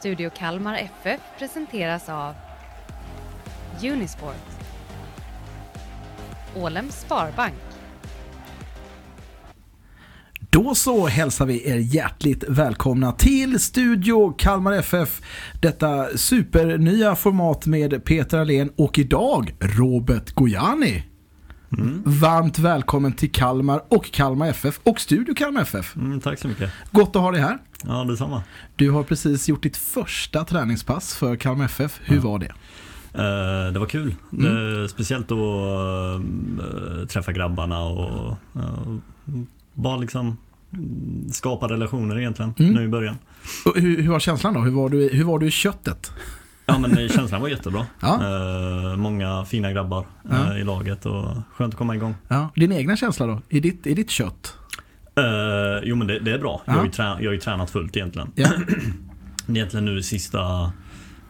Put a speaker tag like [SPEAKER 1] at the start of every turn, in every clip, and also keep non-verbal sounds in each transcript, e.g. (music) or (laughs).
[SPEAKER 1] Studio Kalmar FF presenteras av Unisport Ålems Sparbank
[SPEAKER 2] Då så hälsar vi er hjärtligt välkomna till Studio Kalmar FF. Detta supernya format med Peter Alén och idag Robert Gojani. Varmt välkommen till Kalmar och Kalmar FF och Studio Kalmar FF.
[SPEAKER 3] Mm, tack så mycket.
[SPEAKER 2] Gott att ha dig här.
[SPEAKER 3] Ja, detsamma.
[SPEAKER 2] Du har precis gjort ditt första träningspass för Kalmar FF. Hur var det?
[SPEAKER 3] Eh, det var kul.
[SPEAKER 2] Mm.
[SPEAKER 3] Eh, speciellt att eh, träffa grabbarna och eh, bara liksom mm, skapa relationer egentligen
[SPEAKER 2] Mm.
[SPEAKER 3] nu i början.
[SPEAKER 2] Och hur, hur var känslan då? Hur var du, i- hur var du i köttet?
[SPEAKER 3] Ja, men eh, känslan var jättebra.
[SPEAKER 2] (laughs) Ja.
[SPEAKER 3] Eh, många fina grabbar eh,
[SPEAKER 2] Ja.
[SPEAKER 3] i laget och skönt att komma igång.
[SPEAKER 2] Ja. Din egna känsla då? I ditt, i ditt kött?
[SPEAKER 3] Eh, jo, men det, det är bra. Jag, har ju trä- jag har ju tränat fullt egentligen.
[SPEAKER 2] Ja.
[SPEAKER 3] Det är (clears throat) egentligen nu sista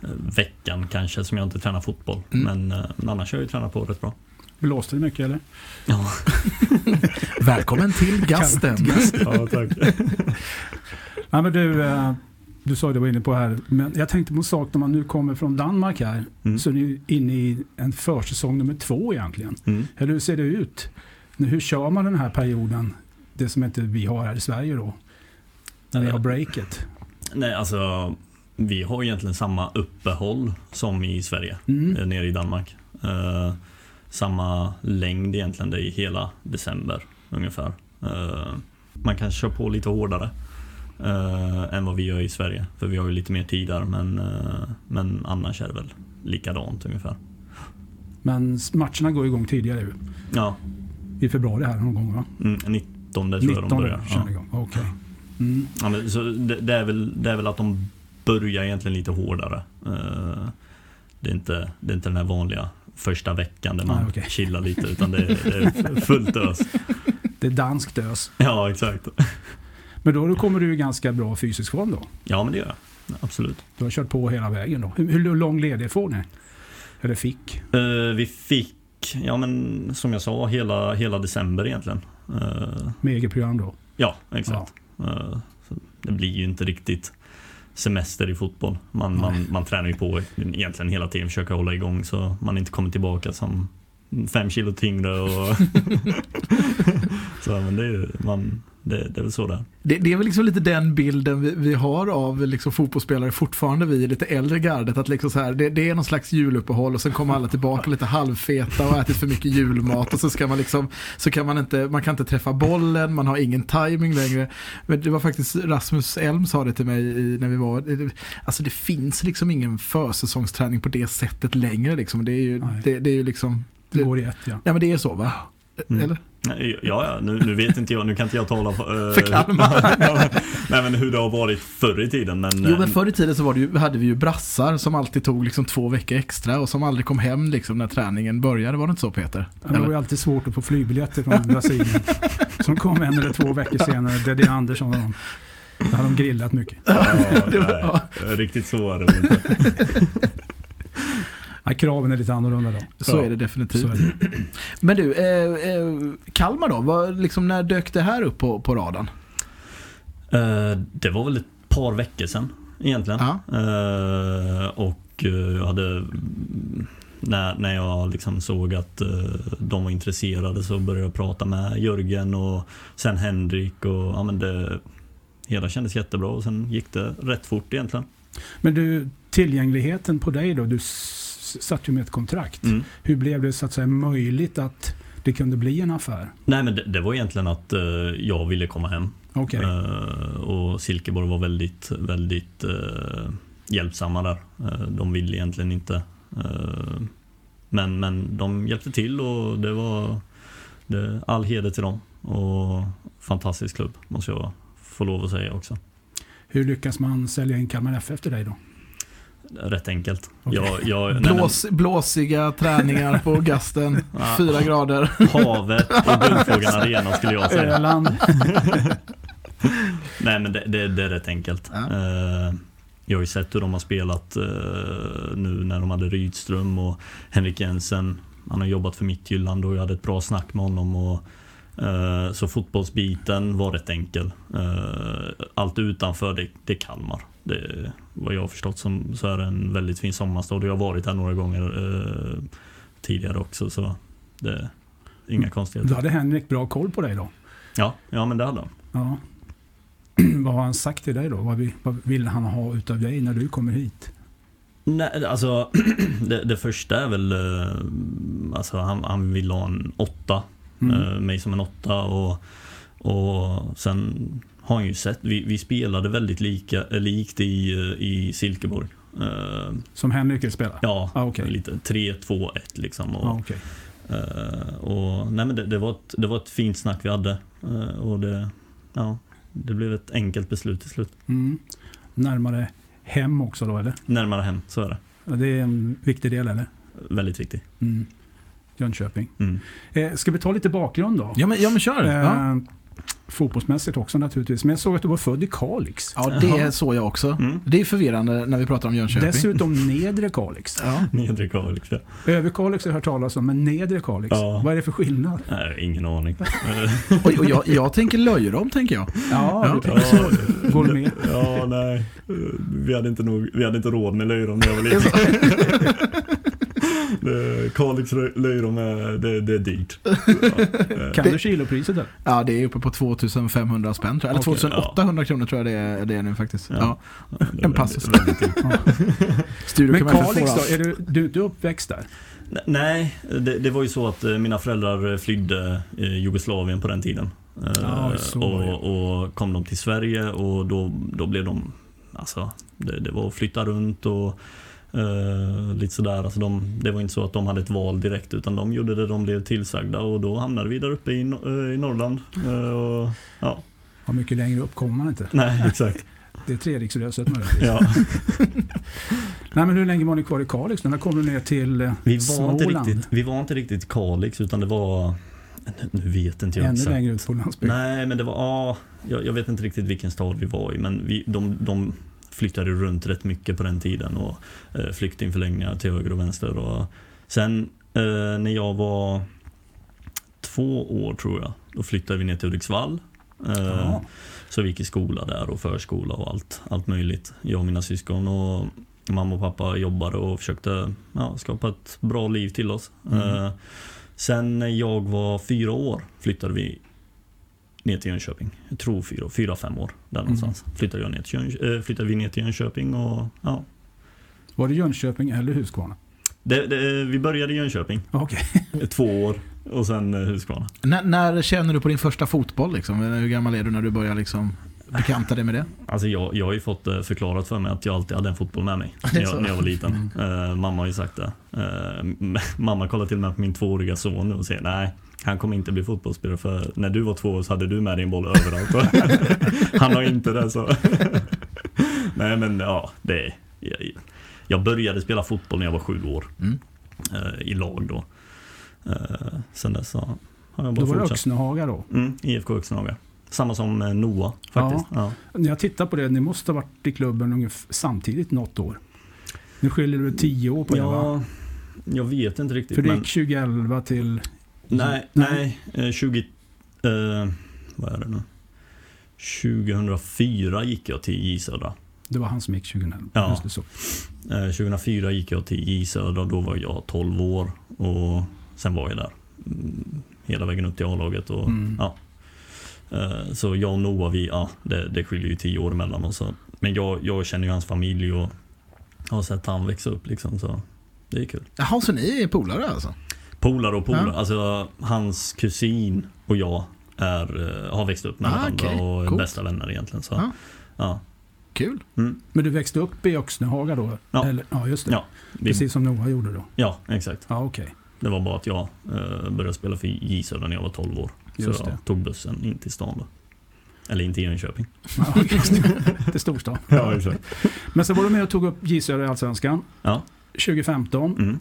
[SPEAKER 3] eh, veckan kanske som jag inte tränar fotboll.
[SPEAKER 2] Mm.
[SPEAKER 3] Men, eh, men annars har jag ju tränat
[SPEAKER 2] (laughs)
[SPEAKER 3] på rätt bra.
[SPEAKER 4] Blåste det mycket eller?
[SPEAKER 3] Ja,
[SPEAKER 2] Välkommen till gasten.
[SPEAKER 3] ja tack.
[SPEAKER 4] Nej, men du, eh, du sa ju det var inne på här, men jag tänkte på en sak när man nu kommer från Danmark här.
[SPEAKER 3] Mm.
[SPEAKER 4] Så är ni ju inne i en försäsong nummer två egentligen.
[SPEAKER 3] Mm.
[SPEAKER 4] Eller hur ser det ut? Nu, Hur kör man den här perioden? Det som inte vi har här i Sverige då. När ni har breaket.
[SPEAKER 3] Nej, alltså vi har egentligen samma uppehåll som i Sverige,
[SPEAKER 4] Mm.
[SPEAKER 3] eh, nere i Danmark. Eh, samma längd egentligen, det är hela december ungefär. Eh, man kan köra på lite hårdare eh, än vad vi gör i Sverige, för vi har ju lite mer tid där. Men, eh, men annars är det väl likadant ungefär.
[SPEAKER 4] Men s- matcherna går igång tidigare ju.
[SPEAKER 3] Ja,
[SPEAKER 4] i februari här någon gång va?
[SPEAKER 3] mm, 19 tror jag
[SPEAKER 4] 19
[SPEAKER 3] de börjar.
[SPEAKER 4] kör
[SPEAKER 3] Ja.
[SPEAKER 4] ni igång. Okej. Mm.
[SPEAKER 3] Ja, men, så det, det, är väl, det är väl att de börjar egentligen lite hårdare. Eh, Det är inte, det är inte den här vanliga första veckan där man
[SPEAKER 4] Nej, okej.
[SPEAKER 3] chillar lite utan det är, det är fullt ös.
[SPEAKER 4] Det är danskt ös.
[SPEAKER 3] Ja, exakt.
[SPEAKER 4] Men då, då kommer du i ganska bra fysisk form då?
[SPEAKER 3] Ja, men det gör jag. Absolut.
[SPEAKER 4] Du har kört på hela vägen då. Hur, hur lång ledighet får ni? Eller fick?
[SPEAKER 3] Eh, Vi fick, ja men som jag sa, hela, hela december egentligen. Eh,
[SPEAKER 4] Med eget program då?
[SPEAKER 3] Ja, exakt. Eh, Så det blir ju inte riktigt semester i fotboll. Man, man, man tränar ju på egentligen hela tiden, försöker hålla igång så man inte kommer tillbaka som fem kilo tyngre. Och (laughs) så, men det, är, ju- man, det, det är väl så det är.
[SPEAKER 2] Det, det är väl liksom lite den bilden vi, vi har av liksom fotbollsspelare fortfarande, vi i lite äldre gardet. Att liksom så här, det, det är någon slags juluppehåll och sen kommer alla tillbaka lite halvfeta och har ätit för mycket julmat. Och så, ska man liksom, så kan man inte, man kan inte träffa bollen, man har ingen timing längre. Men det var faktiskt Rasmus Elm sa det till mig i, när vi var, det- alltså det finns liksom ingen försäsongsträning på det sättet längre. Liksom. Det, är ju,
[SPEAKER 4] Nej.
[SPEAKER 2] det, det är ju liksom,
[SPEAKER 4] Det går i ett ja.
[SPEAKER 2] ja men det är så va?
[SPEAKER 3] Mm.
[SPEAKER 2] Eller?
[SPEAKER 3] Nej, Ja, ja nu, nu vet inte jag, nu kan inte jag tala för, eh,
[SPEAKER 2] För
[SPEAKER 3] (laughs)
[SPEAKER 2] Kalmar.
[SPEAKER 3] Nej, men hur det har varit förr i tiden. Men, eh,
[SPEAKER 2] Jo men förr i tiden så var det ju, hade vi ju brassar som alltid tog liksom två veckor extra och som aldrig kom hem liksom när träningen började. Var det inte så Peter?
[SPEAKER 4] Men Det var ju alltid svårt att få flygbiljetter från Brasilien. Som kom en eller två veckor senare. Det är det Andersson och de. Där har de grillat mycket.
[SPEAKER 2] (laughs)
[SPEAKER 3] ja, nej, riktigt så var det väl inte.
[SPEAKER 4] Nej, kraven är lite annorlunda då.
[SPEAKER 2] Så
[SPEAKER 3] Ja,
[SPEAKER 2] är det definitivt.
[SPEAKER 4] Så är det.
[SPEAKER 2] Men du, eh, eh, Kalmar då? Vad, liksom, när dök det här upp på, på radarn?
[SPEAKER 3] Eh, Det var väl ett par veckor sedan egentligen.
[SPEAKER 2] Ja.
[SPEAKER 3] Eh, Och eh, jag hade... mm, När, när jag liksom såg att eh, de var intresserade så började jag prata med Jörgen och sen Henrik och ja, men det hela kändes jättebra och sen gick det rätt fort egentligen.
[SPEAKER 4] Men du, tillgängligheten på dig då. Du s- satt ju med ett kontrakt.
[SPEAKER 3] Mm.
[SPEAKER 4] Hur blev det så att säga möjligt att det kunde bli en affär?
[SPEAKER 3] Nej men det, det var egentligen att eh, jag ville komma hem.
[SPEAKER 4] Okej.
[SPEAKER 3] Eh, och Silkeborg var väldigt, väldigt eh, hjälpsamma där. Eh, de ville egentligen inte. eh, men, men de hjälpte till och det var det, all heder till dem. Och fantastisk klubb måste jag få lov att säga också.
[SPEAKER 4] Hur lyckas man sälja in Kalmar FF till dig då?
[SPEAKER 3] Rätt enkelt.
[SPEAKER 4] Okej.
[SPEAKER 3] Jag,
[SPEAKER 4] (laughs)
[SPEAKER 3] jag, nej, men-
[SPEAKER 2] Blås, blåsiga träningar på (laughs) gasten,
[SPEAKER 3] Ja.
[SPEAKER 2] fyra grader.
[SPEAKER 3] Havet
[SPEAKER 4] (laughs)
[SPEAKER 3] och Guldfågeln Arena skulle jag säga.
[SPEAKER 4] Öland.
[SPEAKER 3] Nej men det, det, det är rätt enkelt.
[SPEAKER 2] Ja.
[SPEAKER 3] Eh, jag har ju sett hur de har spelat eh, nu när de hade Rydström och Henrik Jensen. Han har jobbat för Midtjylland och jag hade ett bra snack med honom. Och, Eh, Så fotbollsbiten var rätt enkel. Eh, Allt utanför det, det är Kalmar. Det, vad jag har förstått som, så är det en väldigt fin sommarstad och jag har varit här några gånger eh, tidigare också. Så det är inga
[SPEAKER 4] Då
[SPEAKER 3] konstigheter.
[SPEAKER 4] hade Henrik bra koll på dig då.
[SPEAKER 3] Ja, ja men det hade han.
[SPEAKER 4] Ja. (clears throat) vad har han sagt till dig då? Vad, vi- vad vill han ha utav dig när du kommer hit?
[SPEAKER 3] Nej, alltså (clears throat) det, det första är väl eh, alltså, han, han vill ha en åtta.
[SPEAKER 4] Mm.
[SPEAKER 3] Eh, mig som en åtta och, och sen har han ju sett, vi, vi spelade väldigt lika, eh, likt i, eh, i Silkeborg. Eh,
[SPEAKER 4] Som Henrik vill spela?
[SPEAKER 3] ja,
[SPEAKER 4] Ah, okej.
[SPEAKER 3] lite 3, 2, 1 liksom. Och,
[SPEAKER 4] Ja, okej.
[SPEAKER 3] eh, och, nej, men det, det, var ett, det var ett fint snack vi hade eh, och det, ja, det blev ett enkelt beslut till slut.
[SPEAKER 4] Mm. Närmare hem också då eller?
[SPEAKER 3] Närmare hem, så är det.
[SPEAKER 4] Ja, Det är en viktig del eller?
[SPEAKER 3] Väldigt viktigt.
[SPEAKER 4] Mm. Jönköping.
[SPEAKER 3] Mm.
[SPEAKER 4] Eh, ska vi ta lite bakgrund då?
[SPEAKER 2] Ja men, ja, men kör. Ja.
[SPEAKER 4] Eh, fotbollsmässigt också naturligtvis. Men jag såg att du var född i Kalix.
[SPEAKER 2] ja, det såg jag också.
[SPEAKER 3] Mm.
[SPEAKER 2] Det är förvirrande när vi pratar om Jönköping.
[SPEAKER 4] Dessutom nedre Kalix.
[SPEAKER 2] Ja.
[SPEAKER 3] Nedre Kalix, ja.
[SPEAKER 4] Över Kalix har jag hört talas om, men nedre Kalix.
[SPEAKER 3] Ja.
[SPEAKER 4] Vad är det för skillnad?
[SPEAKER 3] Nej, ingen
[SPEAKER 4] (laughs)
[SPEAKER 3] aning.
[SPEAKER 2] Och, och jag, jag tänker löjrom, tänker jag.
[SPEAKER 4] Ja,
[SPEAKER 2] Ja.
[SPEAKER 4] du tänker så. Går du med?
[SPEAKER 3] ja, nej. Eh, Vi hade inte, nog, vi hade inte råd med löjrom när jag var liten. (laughs) Det- Kalix lö- löjrom är, det, det är dyrt.
[SPEAKER 4] (laughs) Kan du kilopriset där?
[SPEAKER 2] Ja, det är uppe på 2500 spänn, tror jag. eller
[SPEAKER 4] Okej,
[SPEAKER 2] 2800 kronor tror jag det är, det är nu faktiskt.
[SPEAKER 3] Ja.
[SPEAKER 2] Ja.
[SPEAKER 3] Det är
[SPEAKER 2] En passus.
[SPEAKER 3] väldigt- väldigt dyrt.
[SPEAKER 2] Studio
[SPEAKER 4] Men
[SPEAKER 2] kan man inte
[SPEAKER 4] Kalix
[SPEAKER 2] få
[SPEAKER 4] då?
[SPEAKER 2] allt.
[SPEAKER 4] Är du, du är inte uppväxt där?
[SPEAKER 3] N- Nej, det, det var ju så att eh, mina föräldrar flydde eh, Jugoslavien på den tiden. Eh,
[SPEAKER 4] Ja, så var det.
[SPEAKER 3] och, och kom de till Sverige och då, då blev de, alltså det, det var att flytta runt och eh, lite sådär. Alltså de, det var inte så att de hade ett val direkt utan de gjorde det de blev tillsagda och då hamnade vi där uppe i, no- eh, i Norrland. Eh, och, ja, (laughs)
[SPEAKER 4] Ja, mycket längre upp kommer man inte.
[SPEAKER 3] nej exakt.
[SPEAKER 4] Det är Treriksröset med det.
[SPEAKER 3] Ja.
[SPEAKER 4] (laughs) Nej, men hur länge var ni kvar i Kalix? När kom du ner till eh,
[SPEAKER 3] Vi, var
[SPEAKER 4] Småland?
[SPEAKER 3] inte riktigt, vi var inte riktigt Kalix utan det var, nu vet inte jag
[SPEAKER 4] Ännu
[SPEAKER 3] exakt.
[SPEAKER 4] längre ut på landsbygden.
[SPEAKER 3] Nej, men det var, ja, jag, jag vet inte riktigt vilken stad vi var i, men vi, de, de flyttade runt rätt mycket på den tiden och eh, flyktingförläggningar till höger och vänster. Och, sen eh, när jag var två år tror jag, då flyttade vi ner till Hudiksvall. Eh,
[SPEAKER 4] Ja.
[SPEAKER 3] Så vi gick i skola där och förskola och allt, allt möjligt. Jag och mina syskon och mamma och pappa jobbade och försökte ja, skapa ett bra liv till oss. Eh, sen när jag var fyra år flyttade vi ner till Jönköping. Jag tror fyra, fyra fem år där någonstans. Flyttade, jag ner till Jön, eh, flyttade vi ner till Jönköping och ja.
[SPEAKER 4] Var det Jönköping eller Huskvarna?
[SPEAKER 3] Det, det, vi började i Jönköping,
[SPEAKER 4] Ja, Okej.
[SPEAKER 3] eh, två år och sen eh, Huskvarna.
[SPEAKER 2] När, när känner du på din första fotboll? Liksom? Hur gammal är du när du börjar liksom, bekanta dig med det?
[SPEAKER 3] Alltså jag, jag har ju fått eh, förklarat för mig att jag alltid hade en fotboll med mig
[SPEAKER 2] det
[SPEAKER 3] när
[SPEAKER 2] är
[SPEAKER 3] jag,
[SPEAKER 2] så. Mm.
[SPEAKER 3] när jag var liten. Eh, mamma har ju sagt det. Eh, (laughs) m- mamma kollar till och med på min tvååriga son nu och säger nej, han kommer inte bli fotbollsspelare för när du var två år så hade du med dig en boll överallt. (laughs) han har inte det så. (laughs) nej men ja, det jag, jag började spela fotboll när jag var sju år
[SPEAKER 2] Mm.
[SPEAKER 3] eh, i lag då. Eh, sen dess så har jag
[SPEAKER 4] Då
[SPEAKER 3] bara
[SPEAKER 4] var det
[SPEAKER 3] fortsatt.
[SPEAKER 4] Öxnehaga då.
[SPEAKER 3] Mm, IFK Öxnehaga. Samma som eh, Noah faktiskt. Ja.
[SPEAKER 4] När jag tittar på det, ni måste ha varit i klubben ungefär samtidigt något år. Nu skiljer du tio år på det va?
[SPEAKER 3] Ja, jag vet inte riktigt.
[SPEAKER 4] För det
[SPEAKER 3] men,
[SPEAKER 4] gick 2011 till...
[SPEAKER 3] nej, nej, eh, 20... Eh, vad är det nu? 2004 gick jag till J Södra.
[SPEAKER 4] Det var han som gick 2011.
[SPEAKER 3] Ja.
[SPEAKER 4] Just det, så.
[SPEAKER 3] Eh, 2004 gick jag till J Södra. Då var jag 12 år. Och sen var jag där. mm, Hela vägen upp till A-laget. Och,
[SPEAKER 4] Mm.
[SPEAKER 3] ja. Eh, Så jag och Noah, vi, ja, det, det skiljer ju 10 år mellan oss. så- Men jag, jag känner ju hans familj och har sett han växa upp liksom. Så det är kul.
[SPEAKER 2] Jaha, så ni är polare alltså?
[SPEAKER 3] Polare och polare.
[SPEAKER 2] Ja.
[SPEAKER 3] Alltså hans kusin och jag är, eh, har växt upp med
[SPEAKER 2] Ah,
[SPEAKER 3] varandra
[SPEAKER 2] okej.
[SPEAKER 3] och är
[SPEAKER 2] Coolt.
[SPEAKER 3] bästa vänner egentligen. Så.
[SPEAKER 2] Ja.
[SPEAKER 3] Ja.
[SPEAKER 2] Kul.
[SPEAKER 4] Men du växte upp i Öxnehaga då?
[SPEAKER 3] Ja.
[SPEAKER 4] Eller, ja just det.
[SPEAKER 3] Ja, vi,
[SPEAKER 4] Precis som Noah gjorde då.
[SPEAKER 3] ja, exakt.
[SPEAKER 4] Ja, okej.
[SPEAKER 3] Det var bara att jag eh, började spela för J Södra när jag var 12 år.
[SPEAKER 4] Just
[SPEAKER 3] så
[SPEAKER 4] det.
[SPEAKER 3] jag tog bussen in till stan då. Eller in till Jönköping.
[SPEAKER 4] Ja, just det. Till storstan.
[SPEAKER 3] Ja, exakt.
[SPEAKER 4] Men sen var du med och tog upp J Södra i Allsvenskan
[SPEAKER 3] Ja.
[SPEAKER 4] 2015.
[SPEAKER 3] Mm.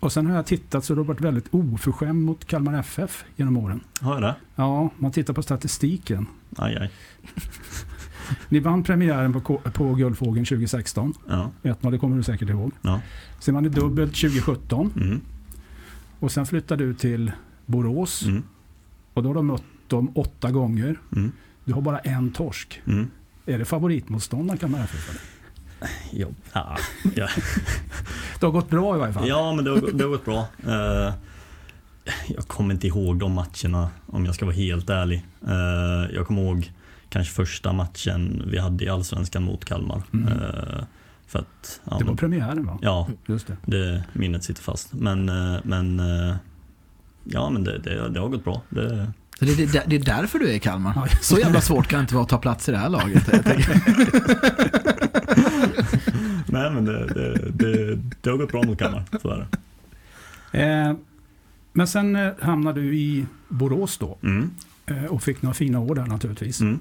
[SPEAKER 4] Och sen har jag tittat så du har varit väldigt oförskämd mot Kalmar FF genom åren.
[SPEAKER 3] Har jag det?
[SPEAKER 4] Ja, man tittar på statistiken.
[SPEAKER 3] Aj, aj.
[SPEAKER 4] Ni vann premiären på, K- på Guldfågeln 2016.
[SPEAKER 3] Ja.
[SPEAKER 4] 1-0, det kommer du säkert ihåg.
[SPEAKER 3] Ja.
[SPEAKER 4] Sen vann ni dubbelt 2017
[SPEAKER 3] Mm.
[SPEAKER 4] och sen flyttade du till Borås
[SPEAKER 3] Mm.
[SPEAKER 4] Och då har de mött dem åtta gånger.
[SPEAKER 3] Mm.
[SPEAKER 4] Du har bara en torsk.
[SPEAKER 3] Mm.
[SPEAKER 4] Är det favoritmotståndaren kan man erfara?
[SPEAKER 3] Ja, ja, ja.
[SPEAKER 4] Det har gått bra i varje fall.
[SPEAKER 3] ja men det har, gått- det har gått bra. Eh, jag kommer inte ihåg de matcherna om jag ska vara helt ärlig. Eh, jag kommer ihåg kanske första matchen vi hade i Allsvenskan mot Kalmar.
[SPEAKER 4] Mm.
[SPEAKER 3] Eh, för att, ja,
[SPEAKER 4] det var
[SPEAKER 3] men,
[SPEAKER 4] premiären va?
[SPEAKER 3] ja,
[SPEAKER 4] Just det.
[SPEAKER 3] det minnet sitter fast. Men, eh, men eh, ja, men det, det, det har gått bra. Det,
[SPEAKER 2] Så det, det, det är därför du är i Kalmar.
[SPEAKER 4] Ja.
[SPEAKER 2] Så jävla svårt kan det inte vara att ta plats i det här laget. jag tänker.
[SPEAKER 3] nej, men det, det, det, det har gått bra mot Kalmar, så är det.
[SPEAKER 4] Eh, men sen eh, hamnade du i Borås då
[SPEAKER 3] Mm,
[SPEAKER 4] eh, och fick några fina år där naturligtvis.
[SPEAKER 3] mm,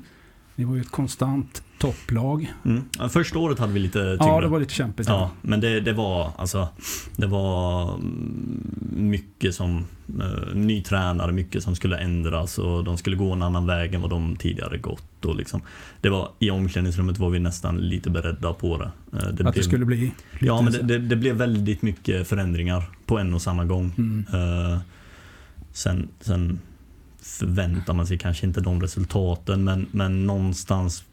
[SPEAKER 4] Ni var ju ett konstant topplag.
[SPEAKER 3] mm. Ja, Första året hade vi lite tyngre.
[SPEAKER 4] Ja, det var lite kämpigt.
[SPEAKER 3] Ja, men det, det var alltså Det var mm, mycket som eh, ny tränare, mycket som skulle ändras och de skulle gå en annan väg än vad de tidigare gått. Och liksom, det var, I omklädningsrummet var vi nästan lite beredda på det. Eh, det
[SPEAKER 4] att det skulle bli... lite
[SPEAKER 3] ja, men
[SPEAKER 4] så-
[SPEAKER 3] det, det, det blev väldigt mycket förändringar på en och samma gång.
[SPEAKER 4] Mm.
[SPEAKER 3] Eh, sen, sen förväntar man sig kanske inte de resultaten men, men någonstans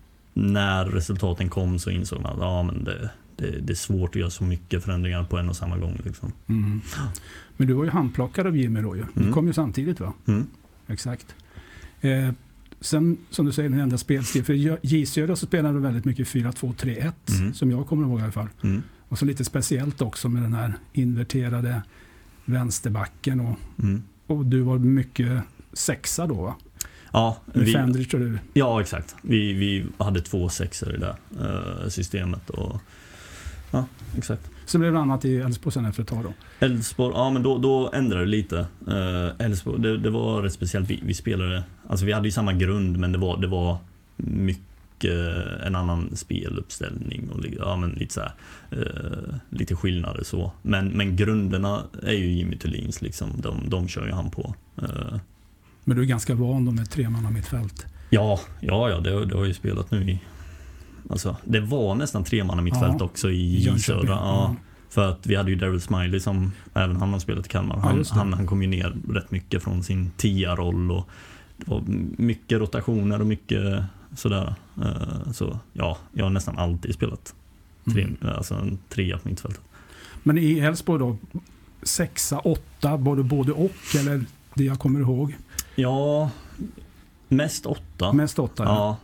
[SPEAKER 3] när resultaten kom så insåg man att ja, men det, det, det är svårt att göra så mycket förändringar på en och samma gång. Liksom.
[SPEAKER 4] Mm. Men du var ju handplockad av Jimmy då ju. Ni
[SPEAKER 3] Mm.
[SPEAKER 4] kom ju samtidigt va?
[SPEAKER 3] Mm.
[SPEAKER 4] Exakt. Eh, sen som du säger, den enda spelstil. För J- J Södra så spelade de väldigt mycket 4-2-3-1.
[SPEAKER 3] Mm.
[SPEAKER 4] Som jag kommer ihåg i alla fall.
[SPEAKER 3] Mm.
[SPEAKER 4] Och så lite speciellt också med den här inverterade vänsterbacken. Och,
[SPEAKER 3] Mm.
[SPEAKER 4] och du var mycket sexa då va?
[SPEAKER 3] Ja,
[SPEAKER 4] Med
[SPEAKER 3] vi,
[SPEAKER 4] Fendrich och du.
[SPEAKER 3] ja, exakt. Vi, vi hade två sexor i det eh, systemet. Och, ja, exakt.
[SPEAKER 4] Så blev det annat i Elfsborg sen efter ett tag då.
[SPEAKER 3] Elfsborg, ja men då, då ändrade det lite. Eh, Elfsborg, det, det var rätt speciellt. Vi, vi spelade, alltså vi hade ju samma grund men det var, det var mycket en annan speluppställning och li- ja, men lite så här, eh, lite skillnader så. Men, men grunderna är ju Jimmy Thulins liksom. De, de kör ju han på. Eh,
[SPEAKER 4] Men du är ganska van då med tre man av mitt fält.
[SPEAKER 3] ja, ja, ja det, det har jag ju spelat nu i... Alltså, det var nästan tremanna mitt fält
[SPEAKER 4] Ja.
[SPEAKER 3] också i Mm. Södra. Ja. För att vi hade ju Daryl Smiley som även han har spelat i Kalmar.
[SPEAKER 4] Ja,
[SPEAKER 3] Han,
[SPEAKER 4] just det.
[SPEAKER 3] han, han kom ju ner rätt mycket från sin tia-roll och det var mycket rotationer och mycket sådär. Eh, Så ja, jag har nästan alltid spelat tre,
[SPEAKER 4] Mm.
[SPEAKER 3] alltså en trea på mittfältet.
[SPEAKER 4] Men i Elfsborg då, sexa, åtta, var det både och eller det jag kommer ihåg?
[SPEAKER 3] Ja, mest åtta.
[SPEAKER 4] Mest åtta. ja.
[SPEAKER 3] ja,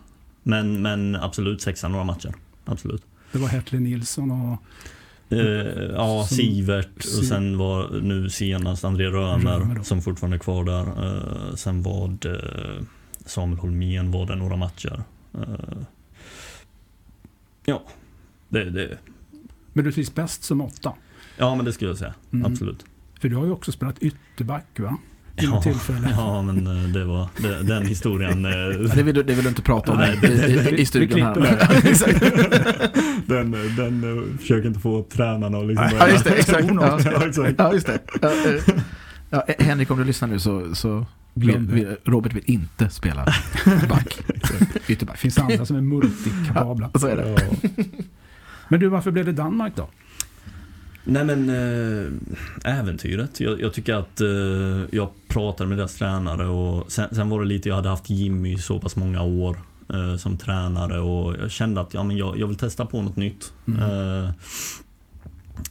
[SPEAKER 3] men, men absolut sexa några matcher. Absolut.
[SPEAKER 4] Det var Hertle Nilsson och
[SPEAKER 3] Eh, ja,
[SPEAKER 4] Som-
[SPEAKER 3] Sivert och
[SPEAKER 4] Si-
[SPEAKER 3] sen var nu senast André Römer
[SPEAKER 4] Römer då.
[SPEAKER 3] som fortfarande är kvar där. Eh, sen var det Samuel Holmén var det några matcher. Eh, ja, det, det,
[SPEAKER 4] Men du trivs bäst som åtta.
[SPEAKER 3] ja, men det skulle jag säga.
[SPEAKER 4] Mm.
[SPEAKER 3] Absolut.
[SPEAKER 4] För du har ju också spelat ytterback va? Vid
[SPEAKER 3] Ja.
[SPEAKER 4] något tillfälle.
[SPEAKER 3] (laughs) Ja, men eh, det var det, den historien. eh,
[SPEAKER 2] Ja, det,
[SPEAKER 3] (laughs)
[SPEAKER 2] vill, (laughs) du- det vill du inte prata om
[SPEAKER 3] Nej,
[SPEAKER 2] i, i, i studion
[SPEAKER 4] vi klipper
[SPEAKER 2] här. Exakt.
[SPEAKER 3] den, den eh, försöker inte få upp tränarna och liksom
[SPEAKER 2] (laughs) Ja, (laughs)
[SPEAKER 3] (laughs)
[SPEAKER 2] just det. Exakt.
[SPEAKER 4] Hon
[SPEAKER 2] Ja,
[SPEAKER 4] också.
[SPEAKER 3] Ja, exakt.
[SPEAKER 2] ja, just det. Ja, eh, ja, eh, Henrik, om du lyssnar nu så, så
[SPEAKER 4] Glöm
[SPEAKER 2] vill- vill- Robert vill inte spela
[SPEAKER 4] (laughs)
[SPEAKER 2] back.
[SPEAKER 4] Det
[SPEAKER 2] Ytterback.
[SPEAKER 4] finns andra som är multikapabla.
[SPEAKER 2] Så är det.
[SPEAKER 4] (laughs) Men du, varför blev det Danmark då?
[SPEAKER 3] Nej men eh, äventyret. Jag, jag tycker att eh, jag pratade med deras tränare och sen, sen var det lite, jag hade haft Jimmy så pass många år eh, som tränare och jag kände att ja, men jag, jag vill testa på något nytt.
[SPEAKER 4] Mm.
[SPEAKER 3] Eh,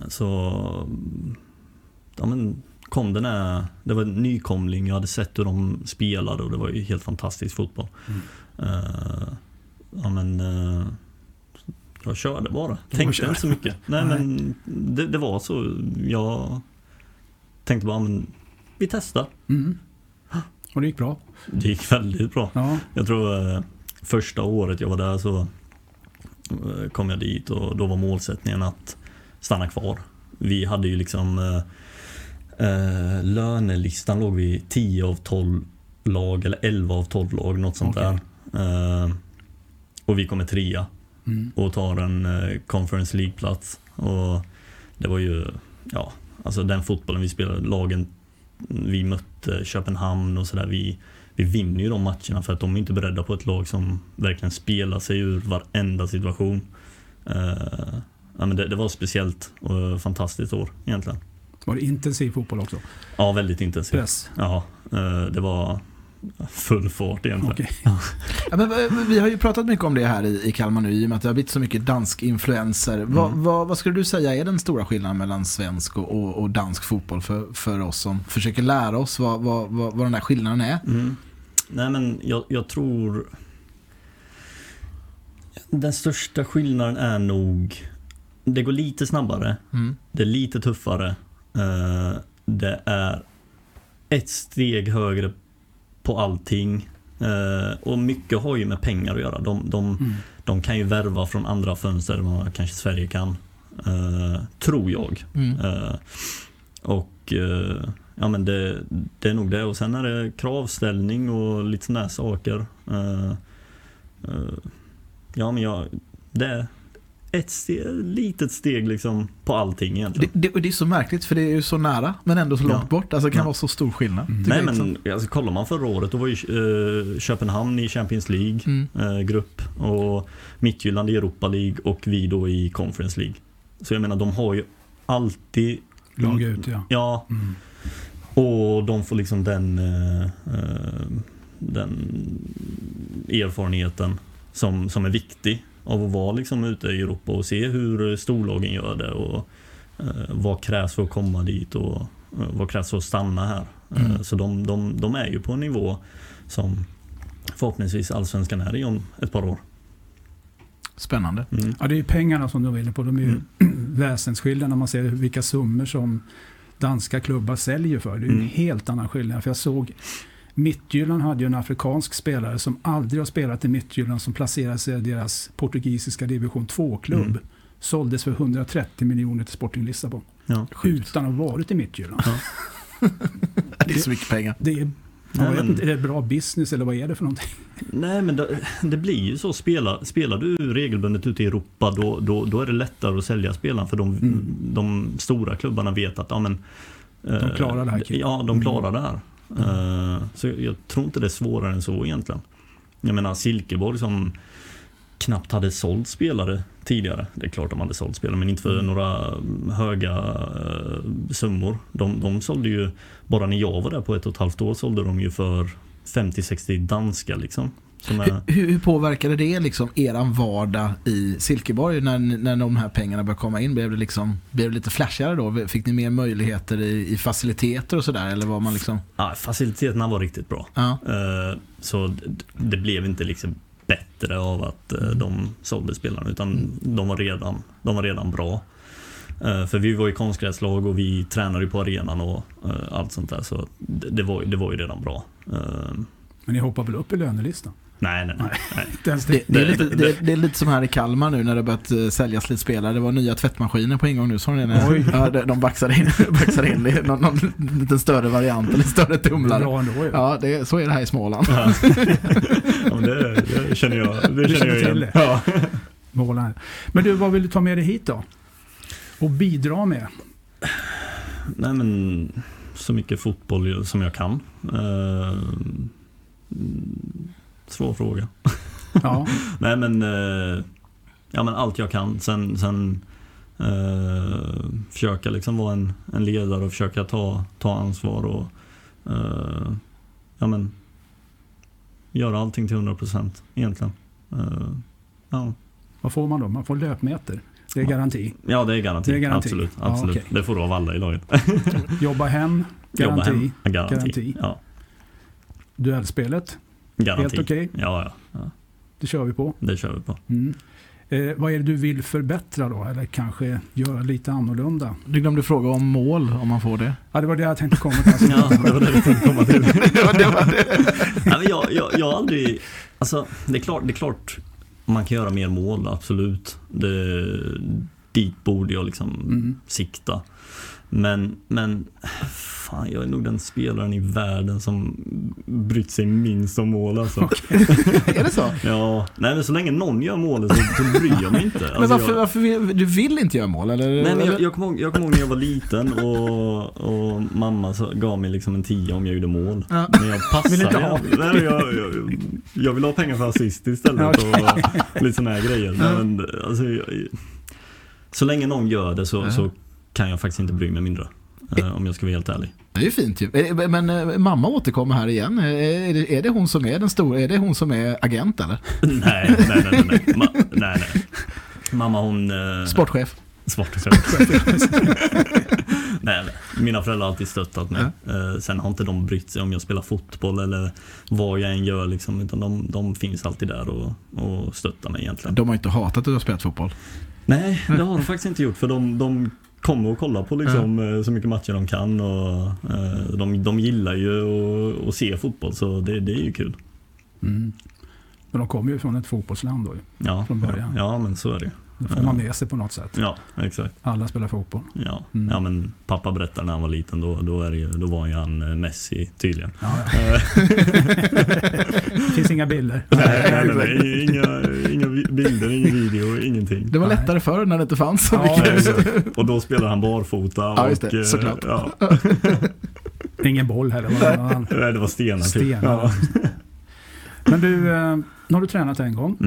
[SPEAKER 3] så ja, men kom den här, det var en nykomling, jag hade sett hur de spelade och det var ju helt fantastisk fotboll.
[SPEAKER 4] Mm.
[SPEAKER 3] Eh, ja men eh, jag körde bara.
[SPEAKER 4] Du
[SPEAKER 3] Tänkte
[SPEAKER 4] körde.
[SPEAKER 3] inte så mycket. (laughs) Nej,
[SPEAKER 4] Nej.
[SPEAKER 3] men det, det var så. Jag tänkte bara, men vi testar.
[SPEAKER 4] Mm. Och det gick bra.
[SPEAKER 3] Det gick väldigt bra.
[SPEAKER 4] Ja.
[SPEAKER 3] Jag tror eh, första året jag var där så eh, kom jag dit och då var målsättningen att stanna kvar. Vi hade ju liksom eh, eh, lönelistan låg vi 10 av 12 lag eller 11 av 12 lag, något sånt
[SPEAKER 4] Okej.
[SPEAKER 3] där. Eh, och vi kommer trea
[SPEAKER 4] Mm.
[SPEAKER 3] och tar en eh, Conference League-plats. Och det var ju, ja, alltså den fotbollen vi spelade, lagen vi mötte, Köpenhamn och sådär. Vi, vi vinner ju de matcherna för att de är inte beredda på ett lag som verkligen spelar sig ur varenda situation. Eh, ja, men det, det var speciellt och fantastiskt år egentligen.
[SPEAKER 4] Var det intensiv fotboll också?
[SPEAKER 3] Ja, väldigt intensivt.
[SPEAKER 4] Press.
[SPEAKER 3] Ja, eh, det var full fart egentligen.
[SPEAKER 4] Okej.
[SPEAKER 2] Ja, men, eh, vi har ju pratat mycket om det här i, i Kalmar nu i och med att det har blivit så mycket dansk influenser. Vad-
[SPEAKER 4] Mm.
[SPEAKER 2] vad- vad skulle du säga är den stora skillnaden mellan svensk och, och, och dansk fotboll för, för oss som försöker lära oss vad, vad, vad, vad den där skillnaden är?
[SPEAKER 3] Mm. Nej men jag, jag tror... Den största skillnaden är nog... Det går lite snabbare.
[SPEAKER 2] Mm.
[SPEAKER 3] Det är lite tuffare. Eh, Det är ett steg högre på allting. Eh, Och mycket har ju med pengar att göra. De, de,
[SPEAKER 4] Mm.
[SPEAKER 3] de kan ju värva från andra fönster än vad kanske Sverige kan. Eh, Tror jag.
[SPEAKER 2] Mm.
[SPEAKER 3] Eh, och eh, ja, men det, det är nog det. Och sen är det kravställning och lite sådana här saker. Eh, eh, ja, men jag, det är ett steg, litet steg liksom på allting
[SPEAKER 2] Det,
[SPEAKER 3] egentligen.
[SPEAKER 2] det, och det är så märkligt för det är ju så nära men ändå så långt
[SPEAKER 3] Ja.
[SPEAKER 2] bort. Alltså det kan
[SPEAKER 3] Ja.
[SPEAKER 2] vara så stor skillnad.
[SPEAKER 4] Mm.
[SPEAKER 2] tycker
[SPEAKER 3] Nej
[SPEAKER 2] jag, liksom.
[SPEAKER 3] men alltså, kollar man förra året då var ju eh, Köpenhamn i Champions League
[SPEAKER 2] Mm.
[SPEAKER 3] eh, grupp och Midtjylland i Europa League och vi då i Conference League. Så jag menar de har ju alltid,
[SPEAKER 4] Lag ut ja.
[SPEAKER 3] ja
[SPEAKER 4] Mm.
[SPEAKER 3] Och de får liksom den, eh, eh, den erfarenheten som, som är viktig av att vara liksom ute i Europa och se hur storlagen gör det och eh, vad krävs för att komma dit och eh, vad krävs för att stanna här. Eh,
[SPEAKER 2] Mm.
[SPEAKER 3] Så de, de, de är ju på en nivå som förhoppningsvis allsvenskan är i om ett par år.
[SPEAKER 2] Spännande.
[SPEAKER 3] Mm.
[SPEAKER 4] Ja, det är ju pengarna som du var inne på. De är ju
[SPEAKER 3] Mm.
[SPEAKER 4] (clears throat) väsensskilda när man ser vilka summor som danska klubbar säljer för. Det är ju en
[SPEAKER 3] Mm.
[SPEAKER 4] helt annan skillnad. För jag såg Midtjylland hade ju en afrikansk spelare som aldrig har spelat i Midtjylland som placerade sig i deras portugisiska division 2-klubb.
[SPEAKER 3] Mm.
[SPEAKER 4] Såldes för 130 miljoner till Sporting Lissabon.
[SPEAKER 3] Ja.
[SPEAKER 2] Sjukt.
[SPEAKER 4] Utan att ha varit i Midtjylland.
[SPEAKER 2] Det är så mycket pengar.
[SPEAKER 4] Det är,
[SPEAKER 3] Nej,
[SPEAKER 4] jag vet
[SPEAKER 3] men-
[SPEAKER 4] inte, är det bra business eller vad är det för någonting? (laughs)
[SPEAKER 3] Nej men det, det blir ju så. Spelar, spelar du regelbundet ute i Europa då, då, då är det lättare att sälja spelaren för de,
[SPEAKER 4] Mm.
[SPEAKER 3] de stora klubbarna vet att ja, men, eh,
[SPEAKER 4] klarar det här, killen. Mm.
[SPEAKER 3] Ja, de klarar det här. Eh, Så jag, jag tror inte det är svårare än så egentligen. Jag menar Silkeborg som knappt hade sålt spelare tidigare. Det är klart de hade sålt spelare men inte för några mm, höga eh, summor. De, de sålde ju, bara när jag var där på ett och ett halvt år sålde de ju för 50-60 danska liksom. Som är,
[SPEAKER 2] Hur, hur påverkade det liksom eran vardag i Silkeborg när, ni- när de här pengarna började komma in? Blev det, liksom, blev det lite flashigare då? Fick ni mer möjligheter i, i faciliteter och sådär? Eller var man liksom...
[SPEAKER 3] ja, faciliteterna var riktigt bra.
[SPEAKER 2] Ja.
[SPEAKER 3] Eh, Så d- d- det blev inte liksom bättre av att eh, de sålde spelarna utan de var redan, de var redan bra. Eh, För vi var ju konstgräslag och vi tränade ju på arenan och eh, allt sånt där så det det var, ju- det var ju redan bra. Eh,
[SPEAKER 4] Men ni hoppar väl upp i lönelistan?
[SPEAKER 3] Nej, nej, nej.
[SPEAKER 4] Inte ens det.
[SPEAKER 2] Det, det, är lite, det, det är lite som här i Kalmar nu när det börjat eh, säljas lite spelare. Det var nya tvättmaskiner på ingång nu. Såg ni det?
[SPEAKER 4] Oj.
[SPEAKER 2] Ja, de, de baxade in, (laughs) baxade in i någon, någon liten större variant eller större
[SPEAKER 4] Det är
[SPEAKER 2] tumlare.
[SPEAKER 4] bra ändå ju.
[SPEAKER 2] Ja, det, så är det här i Småland.
[SPEAKER 3] Ja. (laughs) Ja, men det, det känner jag, det känner
[SPEAKER 4] känner
[SPEAKER 3] jag
[SPEAKER 4] till
[SPEAKER 3] igen.
[SPEAKER 4] det.
[SPEAKER 3] Ja.
[SPEAKER 4] (laughs) Målaren. Men du, vad vill du ta med dig hit då? Och bidra med?
[SPEAKER 3] Nej men så mycket fotboll som jag kan. Eh, mm, Svår fråga.
[SPEAKER 4] Ja,
[SPEAKER 3] Nej men, eh, ja, men allt jag kan. Sen, sen eh, försöka liksom vara en, en ledare och försöka ta, ta ansvar och eh, ja, men, göra allting till 100% egentligen. Eh, ja.
[SPEAKER 4] vad får man då? Man får löpmeter. Det är
[SPEAKER 3] Ja.
[SPEAKER 4] garanti.
[SPEAKER 3] ja, det är garanti.
[SPEAKER 4] Det är garanti.
[SPEAKER 3] Absolut.
[SPEAKER 4] Ja,
[SPEAKER 3] absolut.
[SPEAKER 4] okej.
[SPEAKER 3] Det får du av alla i laget.
[SPEAKER 4] Jobba hem,
[SPEAKER 3] Jobba
[SPEAKER 4] garanti.
[SPEAKER 3] hem. Garanti.
[SPEAKER 4] Garanti.
[SPEAKER 3] Ja,
[SPEAKER 4] Duellspelet,
[SPEAKER 3] garanti.
[SPEAKER 4] helt okej.
[SPEAKER 3] Ja, ja, ja,
[SPEAKER 4] Det kör vi på.
[SPEAKER 3] det kör vi på.
[SPEAKER 4] Mm. Eh, vad är det du vill förbättra då? Eller kanske göra lite annorlunda?
[SPEAKER 2] Du glömde fråga om mål, om man får det.
[SPEAKER 4] Ja, det var det jag tänkte komma
[SPEAKER 3] (laughs)
[SPEAKER 4] till.
[SPEAKER 3] Ja, det var det vi tänkte komma
[SPEAKER 2] (laughs)
[SPEAKER 3] till.
[SPEAKER 2] det, var, det, var det.
[SPEAKER 3] Nej, men jag, jag, jag har aldrig... Alltså, det är, klart, det är klart man kan göra mer mål, absolut. Det, dit borde jag liksom
[SPEAKER 4] Mm.
[SPEAKER 3] sikta. Men, men fan, jag är nog den spelaren i världen som brytt sig minst om mål. Alltså.
[SPEAKER 2] Är det så?
[SPEAKER 3] (laughs) Ja, nej, men så länge någon gör målet så, så bryr jag mig inte.
[SPEAKER 2] Men
[SPEAKER 3] Alltså,
[SPEAKER 2] varför,
[SPEAKER 3] jag,
[SPEAKER 2] varför vill, du vill inte göra mål? Eller?
[SPEAKER 3] Nej, men jag, jag kommer ihåg, jag kommer ihåg när jag var liten och, och mamma så, gav mig liksom en tia om jag gjorde mål.
[SPEAKER 2] Ja.
[SPEAKER 3] Men jag
[SPEAKER 4] Vill inte ha.
[SPEAKER 3] passade. Nej, men jag, jag, jag vill ha pengar för assist istället och lite sådana här grejer.
[SPEAKER 2] Ja.
[SPEAKER 3] Men, alltså, jag, så länge någon gör det så,
[SPEAKER 2] Ja.
[SPEAKER 3] så kan jag faktiskt inte bry mig mindre. Eh, eh, om jag ska vara helt ärlig.
[SPEAKER 2] Det är ju fint ju. Eh, Men eh, mamma återkommer här igen. Eh, Är det, är det hon som är den stora? Är det hon som är agent eller?
[SPEAKER 3] Nej, nej, nej. nej, nej. Ma- nej, nej. Mamma hon... eh,
[SPEAKER 2] Sportchef.
[SPEAKER 3] Sportchef.
[SPEAKER 4] (laughs)
[SPEAKER 3] (laughs) nej, nej. mina föräldrar har alltid stöttat mig. Eh, Sen har inte de brytt sig om jag spelar fotboll eller vad jag än gör. Liksom, utan de, de finns alltid där och, och stöttar mig egentligen.
[SPEAKER 2] De har inte hatat att du har spelat fotboll.
[SPEAKER 3] Nej, det har de faktiskt inte gjort. För de, de kommer och kollar på liksom, eh, så mycket matcher de kan. Och, eh, de, de gillar ju att- att se fotboll, så det, det är ju kul.
[SPEAKER 4] Mm. Men de kommer ju från ett fotbollsland då. ju.
[SPEAKER 3] Ja,
[SPEAKER 4] Från början.
[SPEAKER 3] ja men så är det ju.
[SPEAKER 4] Det får man med sig på något sätt.
[SPEAKER 3] Ja, exakt.
[SPEAKER 4] Alla spelar fotboll.
[SPEAKER 3] Ja.
[SPEAKER 4] Mm.
[SPEAKER 3] ja, men pappa berättade när han var liten, då, då, är det ju, då var ju han eh, Messi tydligen.
[SPEAKER 4] Ja, ja.
[SPEAKER 3] Eh,
[SPEAKER 4] det (laughs) finns inga bilder.
[SPEAKER 3] (laughs) Nej, nej, nej, nej. Inga, inga vi- bilder, ingen video, ingenting.
[SPEAKER 2] Det var
[SPEAKER 4] Nej.
[SPEAKER 2] lättare förr när det inte fanns så
[SPEAKER 4] Ja,
[SPEAKER 2] mycket.
[SPEAKER 3] Nej, exakt. och då spelar han barfota.
[SPEAKER 2] Ja, just det.
[SPEAKER 3] och, eh,
[SPEAKER 2] Såklart.
[SPEAKER 3] Ja,
[SPEAKER 4] Ingen boll heller.
[SPEAKER 3] (laughs)
[SPEAKER 4] Var det någon annan
[SPEAKER 3] nej, det var stenar. typ.
[SPEAKER 4] stenar.
[SPEAKER 3] Ja.
[SPEAKER 4] (laughs) Men du, eh, nu har du tränat en gång.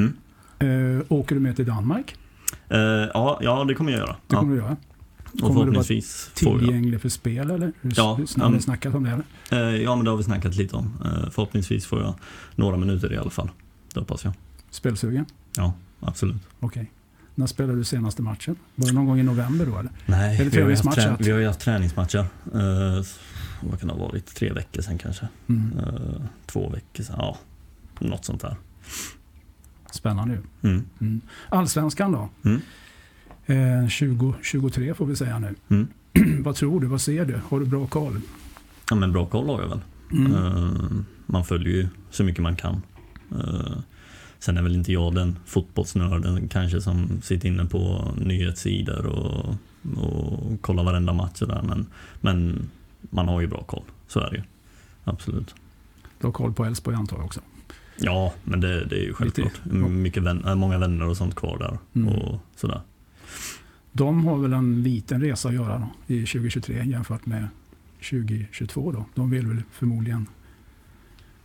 [SPEAKER 3] Mm.
[SPEAKER 4] Eh, åker du med till Danmark?
[SPEAKER 3] Eh, ja, ja, det kommer jag göra.
[SPEAKER 4] Det
[SPEAKER 3] Ja.
[SPEAKER 4] kommer du göra.
[SPEAKER 3] Och
[SPEAKER 4] Kommer det vara
[SPEAKER 3] förhoppningsvis får jag.
[SPEAKER 4] Tillgänglig för spel eller? Hur
[SPEAKER 3] Ja,
[SPEAKER 4] ja,
[SPEAKER 3] ja, men-
[SPEAKER 4] snackat om det? Eller?
[SPEAKER 3] Eh, Ja, men det har vi snackat lite om. Eh, Förhoppningsvis får jag några minuter i alla fall. Det hoppas jag.
[SPEAKER 4] Spelsugen?
[SPEAKER 3] Absolut.
[SPEAKER 4] Okej. När spelade du senaste matchen? Var det någon gång i november då eller?
[SPEAKER 3] Nej,
[SPEAKER 4] Är det
[SPEAKER 3] vi har, ju haft
[SPEAKER 4] träningsmatcher?
[SPEAKER 3] trä- vi har ju haft träningsmatcher. Eh, s- Vad kan det ha varit? Tre veckor sedan kanske?
[SPEAKER 4] Mm.
[SPEAKER 3] Eh, Två veckor sedan? Ja, något sånt där.
[SPEAKER 4] Spännande ju.
[SPEAKER 3] Mm.
[SPEAKER 4] Mm. Allsvenskan då?
[SPEAKER 3] Mm.
[SPEAKER 4] Eh, 2023 får vi säga nu.
[SPEAKER 3] Mm.
[SPEAKER 4] (clears throat) vad tror du? Vad ser du? Har du bra koll?
[SPEAKER 3] Ja, men bra koll har jag väl.
[SPEAKER 4] Mm.
[SPEAKER 3] Eh, Man följer ju så mycket man kan. Eh, Sen är väl inte jag den fotbollsnörden kanske som sitter inne på nyhetssidor och, och kollar varenda match och där. Men, men man har ju bra koll, så är det ju. Absolut.
[SPEAKER 4] Du har koll på Elfsborg antar jag också?
[SPEAKER 3] Ja, men det, det är ju självklart.
[SPEAKER 4] Lite, ja.
[SPEAKER 3] Mycket vän, äh, många vänner och sånt kvar där.
[SPEAKER 4] Mm.
[SPEAKER 3] Och sådär.
[SPEAKER 4] De har väl en liten resa att göra då, i 2023 jämfört med 2022. Då. De vill väl förmodligen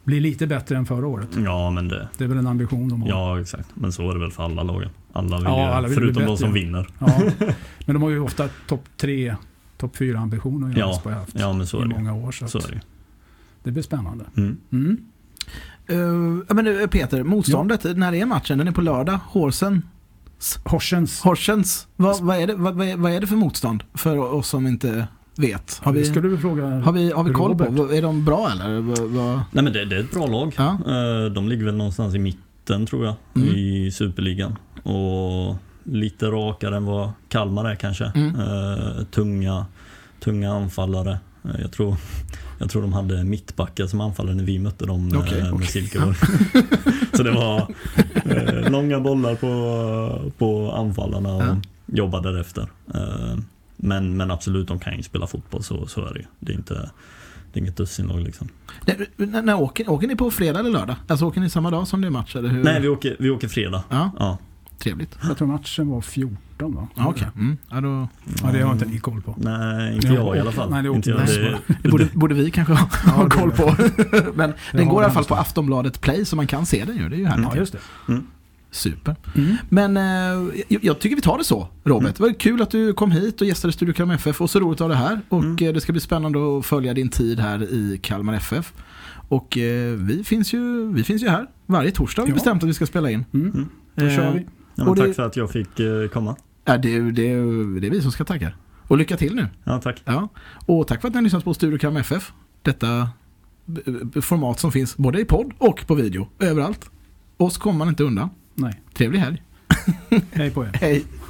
[SPEAKER 4] bli lite bättre än förra året.
[SPEAKER 3] Ja, men det,
[SPEAKER 4] Det är väl en ambition de har.
[SPEAKER 3] ja, exakt. Men så är det väl för alla lagen. Alla vill,
[SPEAKER 4] Ja,
[SPEAKER 3] ju-
[SPEAKER 4] alla vill bli
[SPEAKER 3] förutom de
[SPEAKER 4] bättre.
[SPEAKER 3] som vinner.
[SPEAKER 4] Ja.
[SPEAKER 3] (laughs)
[SPEAKER 4] Men de har ju ofta topp tre, topp fyra ambitioner i
[SPEAKER 3] Ja,
[SPEAKER 4] Elfsborg haft
[SPEAKER 3] Ja, men så är
[SPEAKER 4] i
[SPEAKER 3] det ju.
[SPEAKER 4] många år. Så,
[SPEAKER 3] Så
[SPEAKER 4] att
[SPEAKER 3] är det ju.
[SPEAKER 4] det blir spännande.
[SPEAKER 3] Mm.
[SPEAKER 4] Mm.
[SPEAKER 2] Eh, ja, men eh, Peter, motståndet, när är matchen? Den är på lördag. Horsen.
[SPEAKER 4] Horsens.
[SPEAKER 2] Horsens. Vad, vad, är det, vad, vad är- vad är det för motstånd för oss som inte vet? Har
[SPEAKER 4] Det
[SPEAKER 2] vi,
[SPEAKER 4] ska du väl fråga?
[SPEAKER 2] har vi, har vi koll på?
[SPEAKER 4] Robert.
[SPEAKER 2] Vad- Är de bra eller? Vad- vad-
[SPEAKER 3] Nej men det, det är ett bra lag.
[SPEAKER 2] Ja.
[SPEAKER 3] Eh, De ligger väl någonstans i mitten tror jag
[SPEAKER 2] Mm.
[SPEAKER 3] i Superligan. Och lite rakare än vad Kalmar är kanske.
[SPEAKER 2] Mm.
[SPEAKER 3] Eh, tunga, tunga anfallare. Eh, Jag tror, (laughs) jag tror de hade mittbackar som anfallare när vi mötte dem eh,
[SPEAKER 2] Okej,
[SPEAKER 3] med
[SPEAKER 2] okej.
[SPEAKER 3] Silkeborg. (laughs) Så det var eh, långa bollar på, på anfallarna och
[SPEAKER 2] Ja.
[SPEAKER 3] jobbade därefter. Eh, men, men absolut, de kan ju spela fotboll, så, så är det ju. Det är, inte, det är inget dussinlag liksom.
[SPEAKER 2] När, när, när åker, åker ni på fredag eller lördag? Alltså åker ni samma dag som det är match? Eller hur?
[SPEAKER 3] Nej, vi åker, vi åker fredag.
[SPEAKER 2] Ja,
[SPEAKER 3] Ja.
[SPEAKER 2] trevligt.
[SPEAKER 4] Jag tror matchen var 14 va?
[SPEAKER 2] Ja, okej. Mm. Ja, då...
[SPEAKER 4] Ja, det har inte ni koll på.
[SPEAKER 3] Mm. Nej, inte
[SPEAKER 4] Jag
[SPEAKER 3] jag i
[SPEAKER 4] åker-
[SPEAKER 3] alla fall.
[SPEAKER 4] nej, det åker
[SPEAKER 3] inte jag.
[SPEAKER 4] inte.
[SPEAKER 3] Det,
[SPEAKER 2] Det borde, borde vi kanske ha, ha
[SPEAKER 4] det (laughs)
[SPEAKER 2] koll
[SPEAKER 4] är
[SPEAKER 2] på. (laughs) Men den
[SPEAKER 4] har Mm.
[SPEAKER 2] går i alla
[SPEAKER 4] den
[SPEAKER 2] fall på
[SPEAKER 4] också.
[SPEAKER 2] Aftonbladet Play så man kan se den ju. Det är ju härligt.
[SPEAKER 4] Ja, just det.
[SPEAKER 2] Super.
[SPEAKER 4] Mm.
[SPEAKER 2] Men eh, jag, jag tycker vi tar det så, Robert. Det var kul att du kom hit och gästade Studio Kalmar FF och så roligt att ha det här. Och
[SPEAKER 3] Mm.
[SPEAKER 2] eh, det ska bli spännande att följa din tid här i Kalmar FF. Och eh, vi, finns ju, vi finns ju här. Varje torsdag har vi
[SPEAKER 4] Ja.
[SPEAKER 2] bestämt att vi ska spela in.
[SPEAKER 4] Mm.
[SPEAKER 3] Mm.
[SPEAKER 4] Då kör
[SPEAKER 2] Eh,
[SPEAKER 4] vi.
[SPEAKER 3] nej,
[SPEAKER 2] Och
[SPEAKER 3] men
[SPEAKER 2] det-
[SPEAKER 3] tack för att jag fick eh, komma.
[SPEAKER 2] Ja, Äh, det, är- det, är- det är vi som ska tacka. Och lycka till nu.
[SPEAKER 3] Ja, tack.
[SPEAKER 2] Ja. Och tack för att ni har lyssnat på Studio Kalmar FF. Detta b- b- format som finns både i podd och på video. Överallt. Oss kommer man inte undan.
[SPEAKER 4] Nej,
[SPEAKER 2] Trevlig helg.
[SPEAKER 4] hej på er.
[SPEAKER 2] Hej.